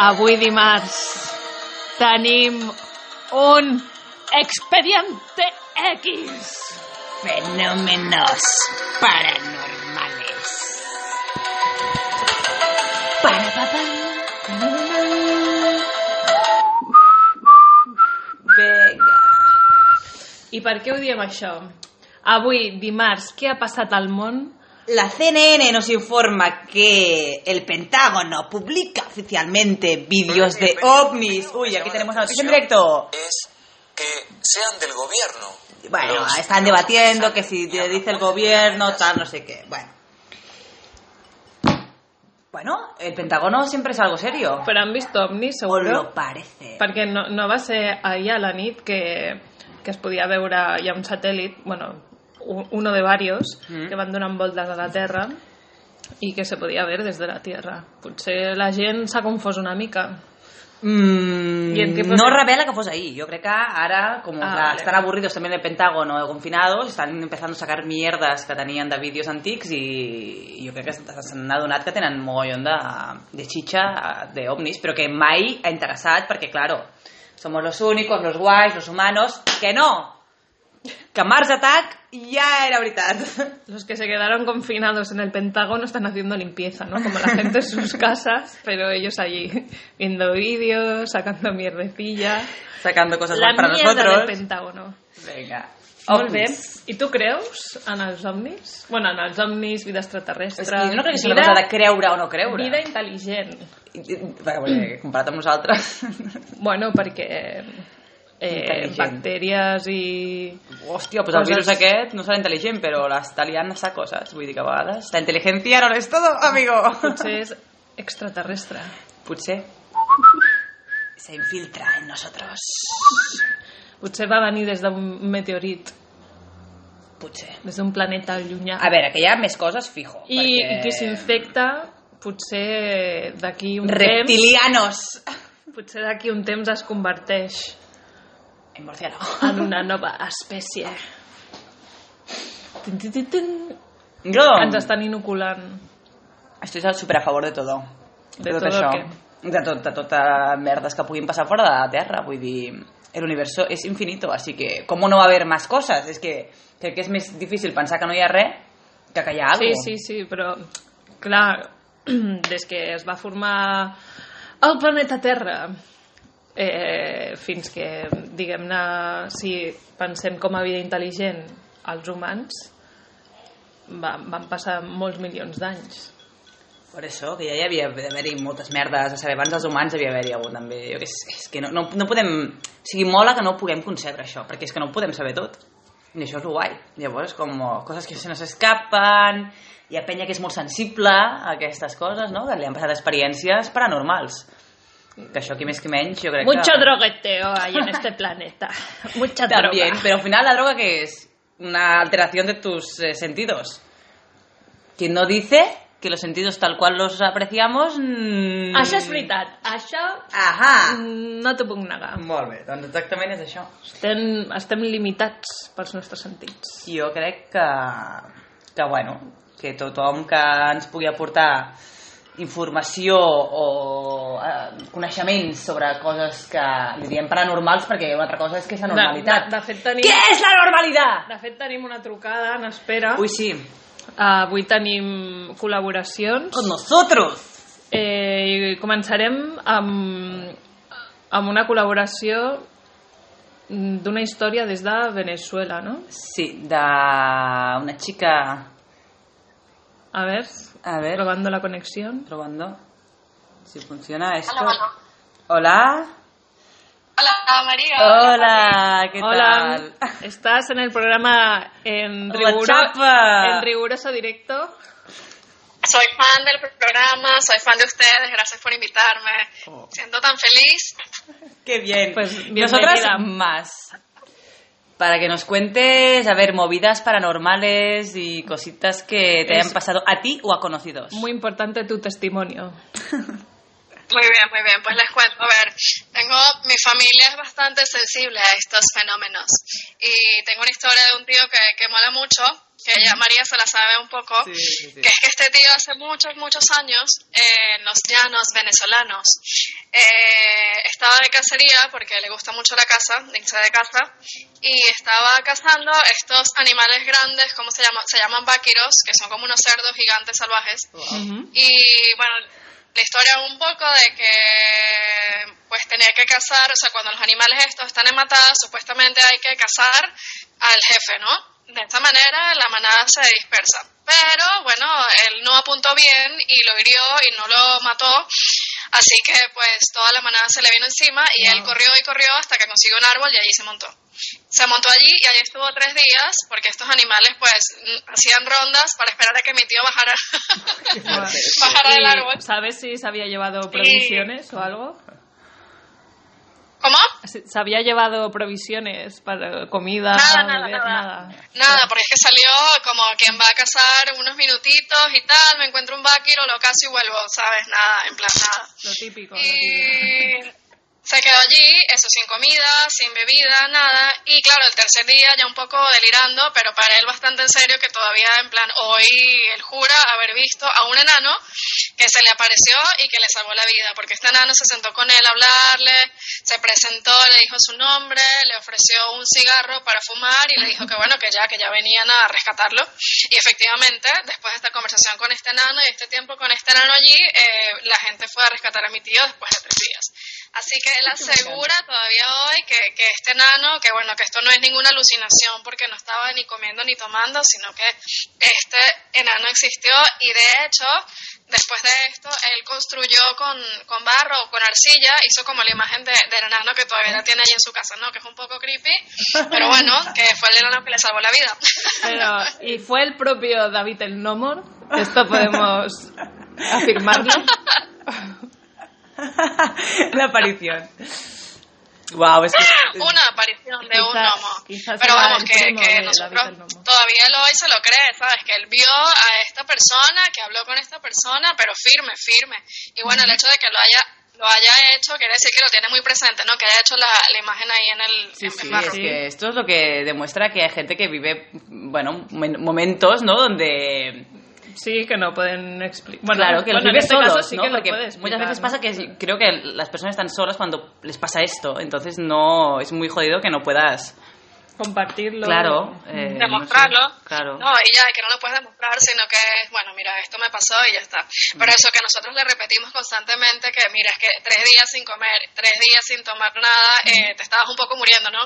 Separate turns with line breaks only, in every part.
Avui dimarts tenim un expediente X.
Fenómenos paranormales. Para papá.
Vinga. I per què ho diem això? Avui, dimarts, què ha passat al món?
La CNN nos informa que el Pentágono publica oficialmente vídeos de ovnis. Uy, aquí tenemos la noticia en directo.
es que sean del gobierno.
Bueno,
Los-
están debatiendo que si te dice el gobierno, tal, no sé qué. Bueno. Bueno, el Pentágono siempre es algo serio.
Però han vist ovnis,
O
segur?
lo parece.
Perquè no, no va ser ahir a la nit que, que es podia veure ja un satèl·lit, bueno, u- uno de varios,
Mm.
que van donant voltes a la Terra i que se podia veure des de la Terra. Potser la gent s'ha confós una mica.
Mm,
I en què
no
posa-
revela que fos ahí. Yo creo que ahora, como
Ah,
la-
vale.
están aburridos también del Pentágono, confinados, están empezando a sacar mierdas que tenían de vídeos antics y yo creo que s'han adonat que tenen mogollón de, de chicha de ovnis, però que mai ha interessat perquè, claro, somos los únicos, los guais, los humanos, que no! Que Mars Attack ja era veritat.
Los que se quedaron confinados en el Pentágono están haciendo limpieza, ¿no? Como la gente en sus casas, pero ellos allí viendo vídeos, sacando mierdecilla.
Sacando cosas
La
más para
mierda del
nosotros.
Pentágono.
Venga.
Molt bé.
Ovnis.
I tu creus en els ovnis? Bueno, en els ovnis, vida extraterrestre...
És que jo no crec que sigui
vida-
una cosa de creure o no creure.
Vida intel·ligent.
Perquè, perquè comparat amb nosaltres...
Bueno, perquè... Eh,
Intel·ligent.
bactèries i...
Hòstia, pues el
Coses.
virus aquest no serà intel·ligent, però l'està liant a saco, saps? Vull dir que a vegades la intel·ligència no lo és todo, amigo.
Potser és extraterrestre.
Potser. Se infiltra en nosotros.
Potser va venir des d'un meteorit,
Potser.
des d'un planeta llunyà.
A veure, que hi ha més coses, fijo.
I, perquè... i qui s'infecta, potser d'aquí un
Reptilianos.
temps... Potser d'aquí un temps es converteix
En Murciano.
en una nova espècie. Tin, tin, tin, tin.
Jo
Ens estan inoculant.
estic super a favor de todo.
De todo què?
De, tot, de tota merdes que puguin passar fora de la Terra. Vull dir, el universo és infinito, así que com no va haver més coses? És que crec que és més difícil pensar que no hi ha res que que hi ha
Sí,
alguna
sí, sí, però... Clar, des que es va formar el planeta Terra eh, fins que, diguem-ne, si pensem com a vida intel·ligent els humans, van, van passar molts milions d'anys.
Per això, que ja hi havia d'haver-hi moltes merdes, a saber, abans dels humans havia d'haver-hi hagut també. Jo, que és, és que no, no, no podem... O sigui, mola que no ho puguem concebre això, perquè és que no ho podem saber tot. I això és lo guai. Llavors, com oh, coses que se nos escapen, hi ha penya que és molt sensible a aquestes coses, no? Que li han passat experiències paranormals. Que això, qui més que menys, jo crec
Mucho
que...
drogueteo hay en este planeta. Mucha
También,
droga.
pero al final la droga que es una alteración de tus eh, sentidos. Quien no dice que los sentidos tal cual los apreciamos... mm,
Això és veritat. Mm. Això
Ahà!
no t'ho puc negar.
Molt bé, doncs exactament és això.
Estem, estem limitats pels nostres sentits.
Jo crec que, que bueno, que tothom que ens pugui aportar informació o eh, coneixements sobre coses que li diem paranormals, perquè una altra cosa és que és la
De,
normalitat.
de, de fet, tenim...
Què és la normalitat?
De fet, tenim una trucada en espera.
Ui, sí.
Ah, avui tenim col·laboracions.
Con nosotros.
Eh, I començarem amb, amb una col·laboració d'una història des de Venezuela, no?
Sí, de una chica...
A ver,
A ver,
probando la conexión.
probando si funciona esto.
Hola, hola.
Hola.
Hola, María.
Hola, ¿qué
Hola,
tal?
estás en el programa en
La
riguroso,
chapa.
en riguroso directo.
Soy fan del programa, soy fan de ustedes, gracias por invitarme. Siento tan feliz.
Qué bien.
Pues,
nosotras
bienvenida.
más. Para que nos cuentes, a ver, movidas paranormales y cositas que te
Es-
hayan pasado a ti o a conocidos.
Muy importante tu testimonio.
Muy bien, muy bien, pues les cuento. A ver, tengo, mi familia es bastante sensible a estos fenómenos. Y tengo una historia de un tío que, que mola mucho, que ya María se la sabe un poco, que es que este tío hace muchos, muchos años, eh, en los llanos venezolanos, eh, estaba de cacería porque le gusta mucho la caza, Nick de caza, y estaba cazando estos animales grandes, ¿cómo se llaman? Se llaman váquiros, que son como unos cerdos gigantes salvajes.
Mm-hmm.
Ujú.
Y bueno, la historia un poco de que pues tenía que cazar, o sea, cuando los animales estos están en manada, supuestamente hay que cazar al jefe, ¿no? De esta manera la manada se dispersa. Pero bueno, él no apuntó bien y lo hirió y no lo mató. Así que pues toda la manada se le vino encima y él corrió y corrió hasta que consiguió un árbol y allí se montó. Se montó allí y allí estuvo tres días porque estos animales pues mm, hacían rondas para esperar a que mi tío bajara. bajara del
Y,
árbol.
¿Sabes si se había llevado provisiones o algo?
¿Cómo?
¿Se se había llevado provisiones para comida?
Nada,
para
nada,
beber?
nada.
nada.
Nada, porque es que salió como quien va a cazar unos minutitos y tal, me encuentro un vaquero, lo cazo y vuelvo, ¿sabes? Nada, en plan nada.
Lo típico. lo típico.
Y se quedó allí, eso sin comida, sin bebida, nada. Y claro, el tercer día ya un poco delirando, pero para él bastante en serio, que todavía en plan, hoy él jura haber visto a un enano que se le apareció y que le salvó la vida, porque este enano se sentó con él a hablarle, se presentó, le dijo su nombre, le ofreció un cigarro para fumar y le dijo que bueno, que ya, que ya venían a rescatarlo. Y efectivamente, después de esta conversación con este enano y este tiempo con este enano allí, eh, la gente fue a rescatar a mi tío después de tres días. Así que él asegura todavía hoy que, que este enano, que bueno, que esto no es ninguna alucinación porque no estaba ni comiendo ni tomando, sino que este enano existió y de hecho, después de esto, él construyó con, con barro o con arcilla, hizo como la imagen de- del enano que todavía la tiene allí en su casa, ¿no? Que es un poco creepy, pero bueno, que fue el enano que le salvó la vida.
Pero, ¿y fue el propio David el Nomor? Esto podemos afirmarlo.
la aparición. Wow, es que...
una aparición de un
Quizá-
gnomo.
quizá
Pero
será
vamos,
el
que,
primo
que
de
nosotros
David el Gnomo.
todavía lo hoy se lo cree, ¿sabes? Que él vio a esta persona, que habló con esta persona, pero firme, firme. Y bueno, el hecho de que lo haya lo haya hecho quiere decir que lo tiene muy presente, ¿no? Que haya hecho la, la imagen ahí en el,
Sí,
en el
sí,
barro.
es que esto es lo que demuestra que hay gente que vive, bueno, momen- momentos, ¿no? Donde...
Sí, que no pueden explicar. Bueno,
claro, que
bueno,
los
en
vive
este
solos,
caso sí
¿no?
que lo
Porque
puede
muchas
explicar,
veces
¿no?
pasa que sí- creo que las personas están solas cuando les pasa esto, entonces no, es muy jodido que no puedas,
Compartirlo.
claro... eh, no sé,
demostrarlo.
claro.
No, y ya, que no lo puedes demostrar, sino que es, bueno, mira, esto me pasó y ya está.
Mm.
Pero eso que nosotros le repetimos constantemente, que mira, es que tres días sin comer, tres días sin tomar nada,
Mm.
eh, te estabas un poco muriendo, ¿no?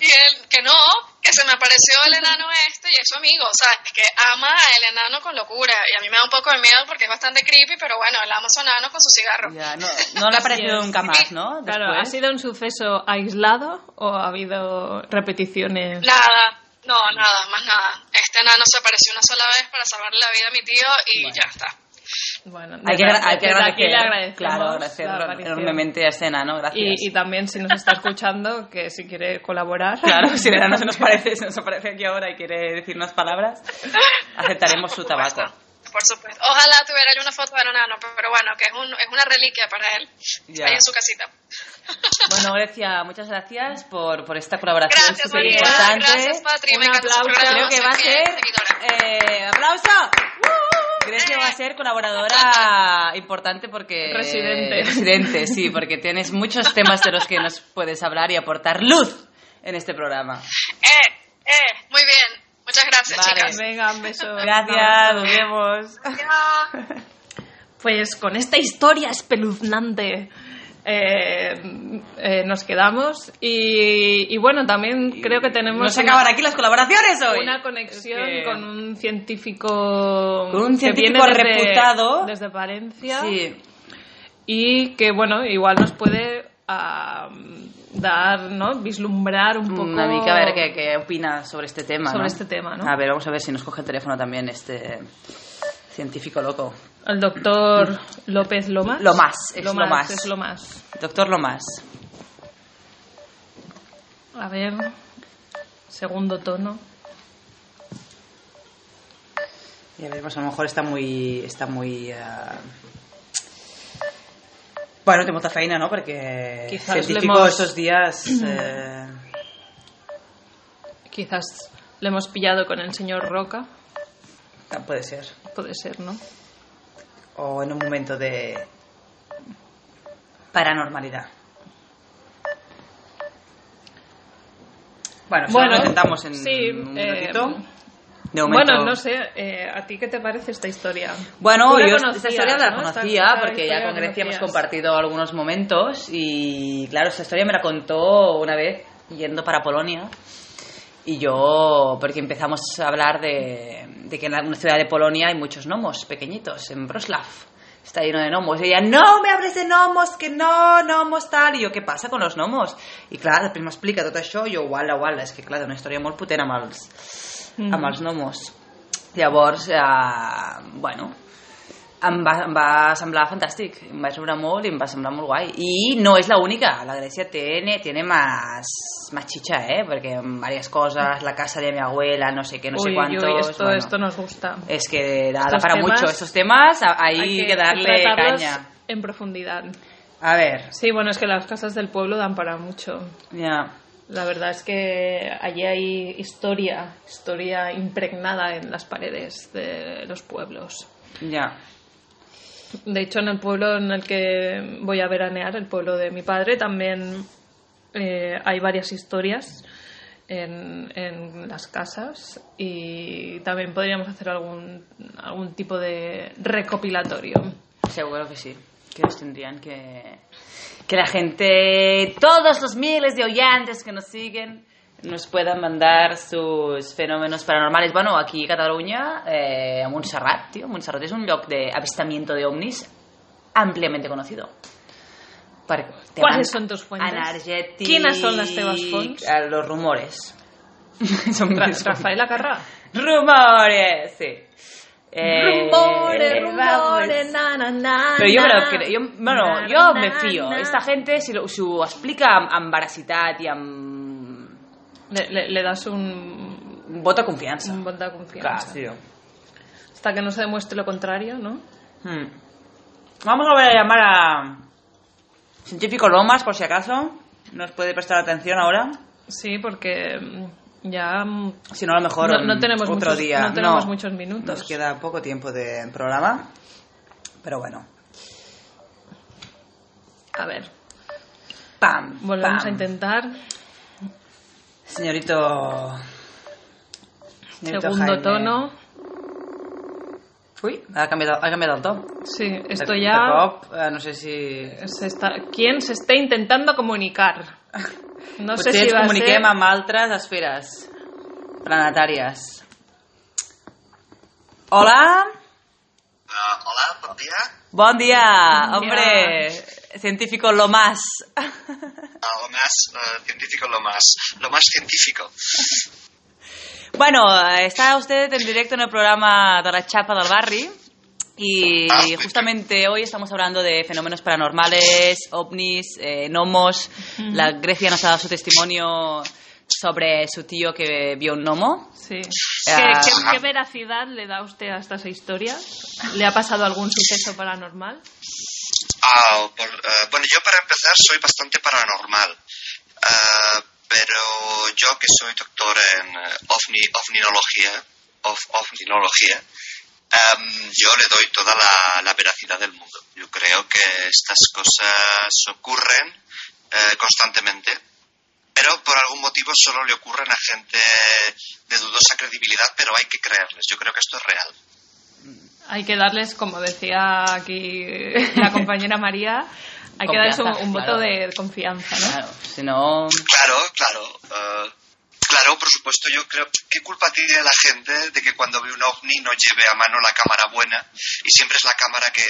Y él, que no, que se me apareció el enano este y es su amigo, o sea, es que ama al enano con locura. Y a mí me da un poco de miedo porque es bastante creepy, pero bueno, el ama a su enano con su cigarro.
Ya, no, no le ha parecido
es.
nunca más, ¿no?
Claro, ¿ha
Después.
sido un suceso aislado o ha habido repeticiones?
Nada, no, nada, más nada. Este enano se apareció una sola vez para salvarle la vida a mi tío y ya está.
Bueno,
Hay que,
desde-
agra- hay que
desde
agradecer,
aquí le agradecemos
claro,
la
agradecer
aparición.
enormemente a escena, ¿no? Gracias.
Y, y también si nos está escuchando, que si quiere colaborar.
Claro, si Elena no se nos parece, se nos aparece aquí ahora y quiere decir unas palabras, aceptaremos su tabaco.
Por supuesto. Ojalá tuviera yo una foto de Nano, pero bueno, que es, un, es una reliquia para él.
Ya.
Ahí en su casita.
Bueno, Grecia, muchas gracias por, por esta colaboración
Gracias,
súper
María.
importante.
Gracias, Patri. Me
Un
encanta su
aplauso. Creo
programa,
que va a
soy fiel
ser... eh, ¡Aplauso! Grecia va a ser colaboradora importante porque...
Residente.
Residente, sí, porque tienes muchos temas de los que nos puedes hablar y aportar luz en este programa.
Eh, eh, muy bien. Muchas gracias,
Vale.
chicas.
Venga, un beso.
Gracias, nos vemos.
Adiós.
Pues con esta historia espeluznante eh, eh, nos quedamos y, y bueno, también creo que tenemos
No se
una-
acaban aquí las colaboraciones hoy.
una conexión
Es que-
con un científico,
Con un
que viene
científico
desde-
reputado.
desde Valencia
Sí,
y que bueno, igual nos puede ah, dar, ¿no? Vislumbrar un poco
una mica Mm, a ver qué, qué opina sobre este tema.
Sobre
¿no?
este tema, ¿no?
A ver, vamos a ver si nos coge el teléfono también este científico loco.
al doctor López Lomas.
Lomas, es Lomas.
es Lomas.
Doctor Lomas.
A ver, segundo tono.
Y a ver, pues a lo mejor está muy... Está muy eh, Bueno, té molta feina, no? Perquè
Quizás
científico
l'hemos-
estos días... Eh...
Quizás le hemos pillado con el señor Roca,
Puede ser.
puede ser, ¿no?
O en un momento de... Paranormalidad. Bueno, eso
Bueno,
lo intentamos en
sí,
un
eh,
ratito. De momento-
Bueno, no sé, eh, ¿a ti qué te parece esta historia?
Bueno,
Tú la
yo
conocías,
esta historia la
¿no? Esta-
conocía
esta
porque
historia
ya con
la
Grecia hemos
conocías.
compartido algunos momentos y claro, esta historia me la contó una vez yendo para Polonia y yo, porque empezamos a hablar de, de que en una ciudad de Polonia hay muchos gnomos pequeñitos, en Wrocław. Está lleno de gnomos. Y ella, no me hables de gnomos, que no, gnomos tal. Y jo, què passa con los gnomos? I clar, després m'explica tot això, i jo, uala, uala, és que clar, té una història molt potent amb els,
Mm.
amb els gnomos. Llavors, eh, bueno, em va, em va semblar fantàstic, em vaig riure molt i em va semblar molt guai. I no és l'única, la Grècia tiene, tiene más, más chicha, eh? Perquè en varias cosas, la casa de mi abuela, no sé qué, no sé
uy,
cuántos...
uy, esto,
bueno,
esto nos gusta.
Es que da, da
Estos
para
temas-
mucho estos temas, a- ahí hay que, darle
tratarlos
caña.
en profundidad.
A ver,
Sí, bueno, es que las casas del pueblo dan para mucho.
ya...
La verdad es que allí hay historia, historia impregnada en las paredes de los pueblos.
Ya.
De hecho, en el pueblo en el que voy a veranear, el pueblo de mi padre, también eh, hay varias historias en, en las casas y también podríamos hacer algún, algún tipo de recopilatorio.
Seguro que sí, que nos tendrían que... Que la gente, todos los miles de oyentes que nos siguen, nos puedan mandar sus fenómenos paranormales. Bueno, aquí a Cataluña, eh, a Montserrat, tío, Montserrat es un lloc de avistamiento de ovnis ampliamente conocido. Per
¿Cuáles
temes
són tus fuentes?
energètics,
Quines són les teves fonts?
eh, Los rumores. Són
Ra-
més-
Rafael Acarra.
Rumores, sí. Eh,
rumores, na, na, na,
Pero yo me
na.
lo creo. Yo, bueno,
Na,
yo
na,
me fío.
na.
Esta gente, si lo, si ho explica amb, amb veracitat i amb...
Le, le- le das un,
Vota confiança.
un bot de confianza.
tío.
Hasta que no se demuestre lo contrario, ¿no?
Hmm. Vamos a volver a llamar a Científico Lomas, por si acaso. Nos puede prestar atención ahora.
Sí, porque mm, ya mm,
Si no, a lo mejor
No- no
mm,
tenemos
otro
muchos-
día.
no tenemos muchos minutos.
Nos queda poco tiempo de programa. Pero bueno.
A ver,
Pam.
volvemos
pam.
a intentar.
Señorito. señorito
Segundo
Jaime.
tono.
Uy, ha cambiado, ha cambiado el top.
Sí, esto
De- de
ya
cop, eh, no sé si...
se está. ¿Quién se está intentando comunicar? No sé
Potser
si
ens
va a
comuniquem
ser.
amb altres esferes planetàries. Hola,
Ah, hola, bon dia.
bon dia,
Bon dia.
hombre, científico lo más.
Ah, lo más eh, científico, lo más, lo más científico.
Bueno, está usted en directo en el programa de la chapa del barri y
Ah.
justamente hoy estamos hablando de fenómenos paranormales, ovnis, eh, gnomos. La Grecia nos ha dado su testimonio sobre su tío que vio un gnomo.
Sí. ¿Qué,
Ah.
qué- qué veracidad le da usted a estas historias? ¿Le ha pasado algún suceso paranormal?
Ah, por- eh, bueno, yo para empezar soy bastante paranormal, Ah, pero yo que soy doctor en eh, ovni, ovninología, of- ovninología, am, yo le doy toda la, la veracidad del mundo. Yo creo que estas cosas ocurren eh, constantemente, pero por algún motivo solo le ocurren a gente de dudosa credibilidad, pero hay que creerles. Yo creo que esto es real.
Hay que darles, como decía aquí la compañera María, hay que darles un,
Confianza,
un voto
claro.
de confianza, ¿no?
Claro, si no...
Claro, claro. eh, claro, por supuesto, yo creo. ¿Qué culpa tiene la gente de que cuando ve un ovni no lleve a mano la cámara buena? Y siempre es la cámara que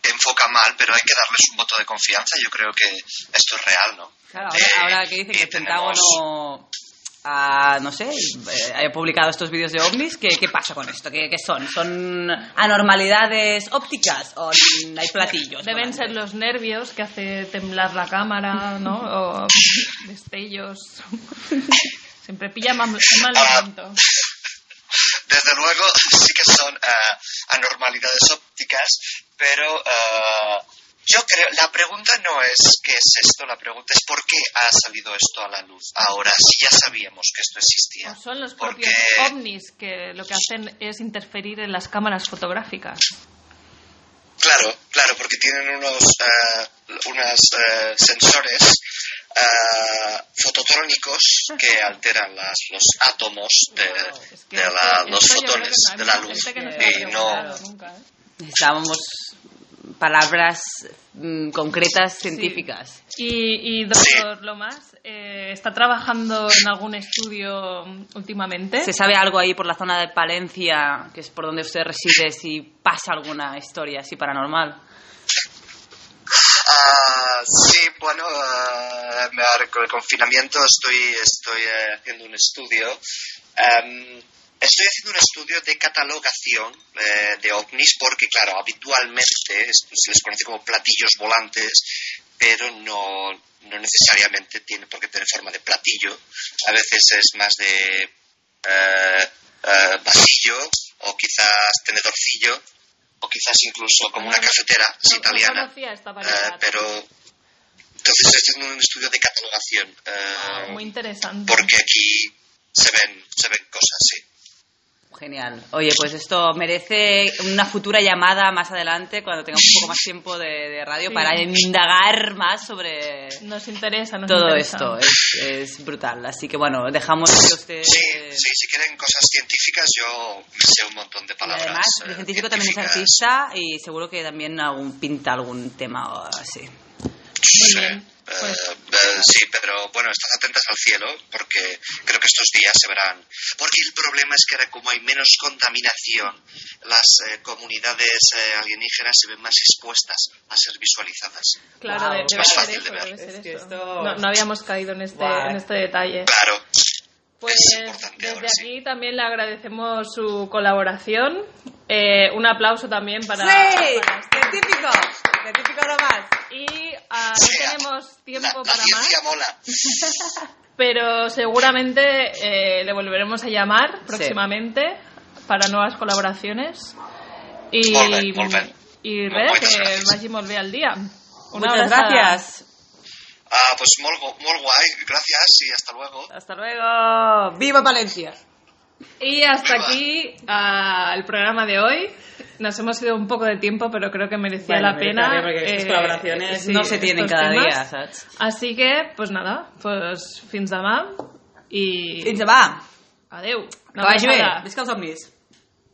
que enfoca mal, pero hay que darles un voto de confianza. Yo creo que esto es real, ¿no?
Claro,
Eh,
ahora, ahora que dicen que
y
el
tenemos-
Pentágono ha, no sé, eh, haya publicado estos vídeos de ovnis, ¿qué, qué pasa con esto? ¿Qué, qué son? ¿Son anormalidades ópticas o hay platillos?
Deben ser los nervios que hace temblar la cámara, ¿no? O destellos. Siempre pilla ma- mal momento.
Desde luego, sí que son eh, anormalidades ópticas, pero eh, yo creo. La pregunta no es qué es esto, la pregunta es por qué ha salido esto a la luz ahora, si ya sabíamos que esto existía.
O son los
Porque-
propios ovnis que lo que hacen es interferir en las cámaras fotográficas.
Claro, claro, porque tienen unos eh, unos eh, sensores eh, fototrónicos que alteran las, los átomos de,
Es que
de
esto-
la-
esto
los
yo creo
fotones
que
de
nadie-
la luz
gente que no se
y
lo ha
no
preguntado nunca, ¿eh?
Necesitábamos palabras mm, concretas, científicas.
Y, y doctor Lomas, eh, ¿está trabajando en algún estudio últimamente?
¿Se sabe algo ahí por la zona de Palencia, que es por donde usted reside, si pasa alguna historia así paranormal?
Ah, sí, bueno, ah, me ha- con el confinamiento estoy, estoy eh, haciendo un estudio. Em, estoy haciendo un estudio de catalogación eh, de ovnis porque, claro, habitualmente es- se les conoce como platillos volantes, pero no, no necesariamente tiene por qué tener forma de platillo. A veces es más de eh, eh, vasillo o quizás tenedorcillo o quizás incluso como una cafetera es
No- pues no
italiana.
conocía esta
Eh,
variedad.
pero entonces estoy haciendo un estudio de catalogación eh,
Muy interesante.
porque aquí se ven se ven cosas sí
Genial. Oye, pues esto merece una futura llamada más adelante, cuando tengamos un poco más tiempo de, de radio,
Sí.
para indagar más sobre
Nos interesa, nos
todo
interesa.
esto. Es, es brutal. Así que bueno, dejamos que
Eh,
usted.
sí sí si quieren cosas científicas yo me sé un montón de
Y
palabras
además,
eh,
el científico también es
científicas.
artista y seguro que también algún pinta algún tema o así.
Muy
Sí,
bien,
eh,
pues.
eh, sí, pero bueno, estad atentas al cielo porque creo que estos días se verán. Porque el problema es que ahora como hay menos contaminación, las eh, comunidades eh, alienígenas se ven más expuestas a ser visualizadas.
Claro,
Wow.
de- debe
Eh, Es
ser
fácil de
eso,
ver.
debe ser
Es que
eso.
esto-
No, no habíamos caído en este,
Guau.
en este detalle.
Claro,
Pues
es importante
desde
ahora sí.
aquí también le agradecemos su colaboración. Eh, un aplauso también para... para este-
¡Científico! ¡Científico nomás!
Y ah,
Sí,
no tenemos
la,
tiempo
la
para más.
ciencia mola.
pero seguramente eh, le volveremos a llamar próximamente para nuevas colaboraciones i,
Molt bé, molt bé.
i
Molt-
res,
moltes
que
gràcies.
vagi molt bé el dia una
Muchas
abraçada.
gracias.
Ah, pues muy, gu- muy guay, gracias y hasta luego.
Hasta luego. ¡Viva Palencia!
y hasta aquí ah, el programa de hoy nos hemos ido un poco de tiempo pero creo que merecía
Bueno,
la
merece
pena eh,
la pena porque estas colaboraciones no se tienen
estos
cada día, saps?
así que pues nada pues fins demà i
Fins demà!
adeu
Que vagi bé!
abraçada.
Visca els ovnis!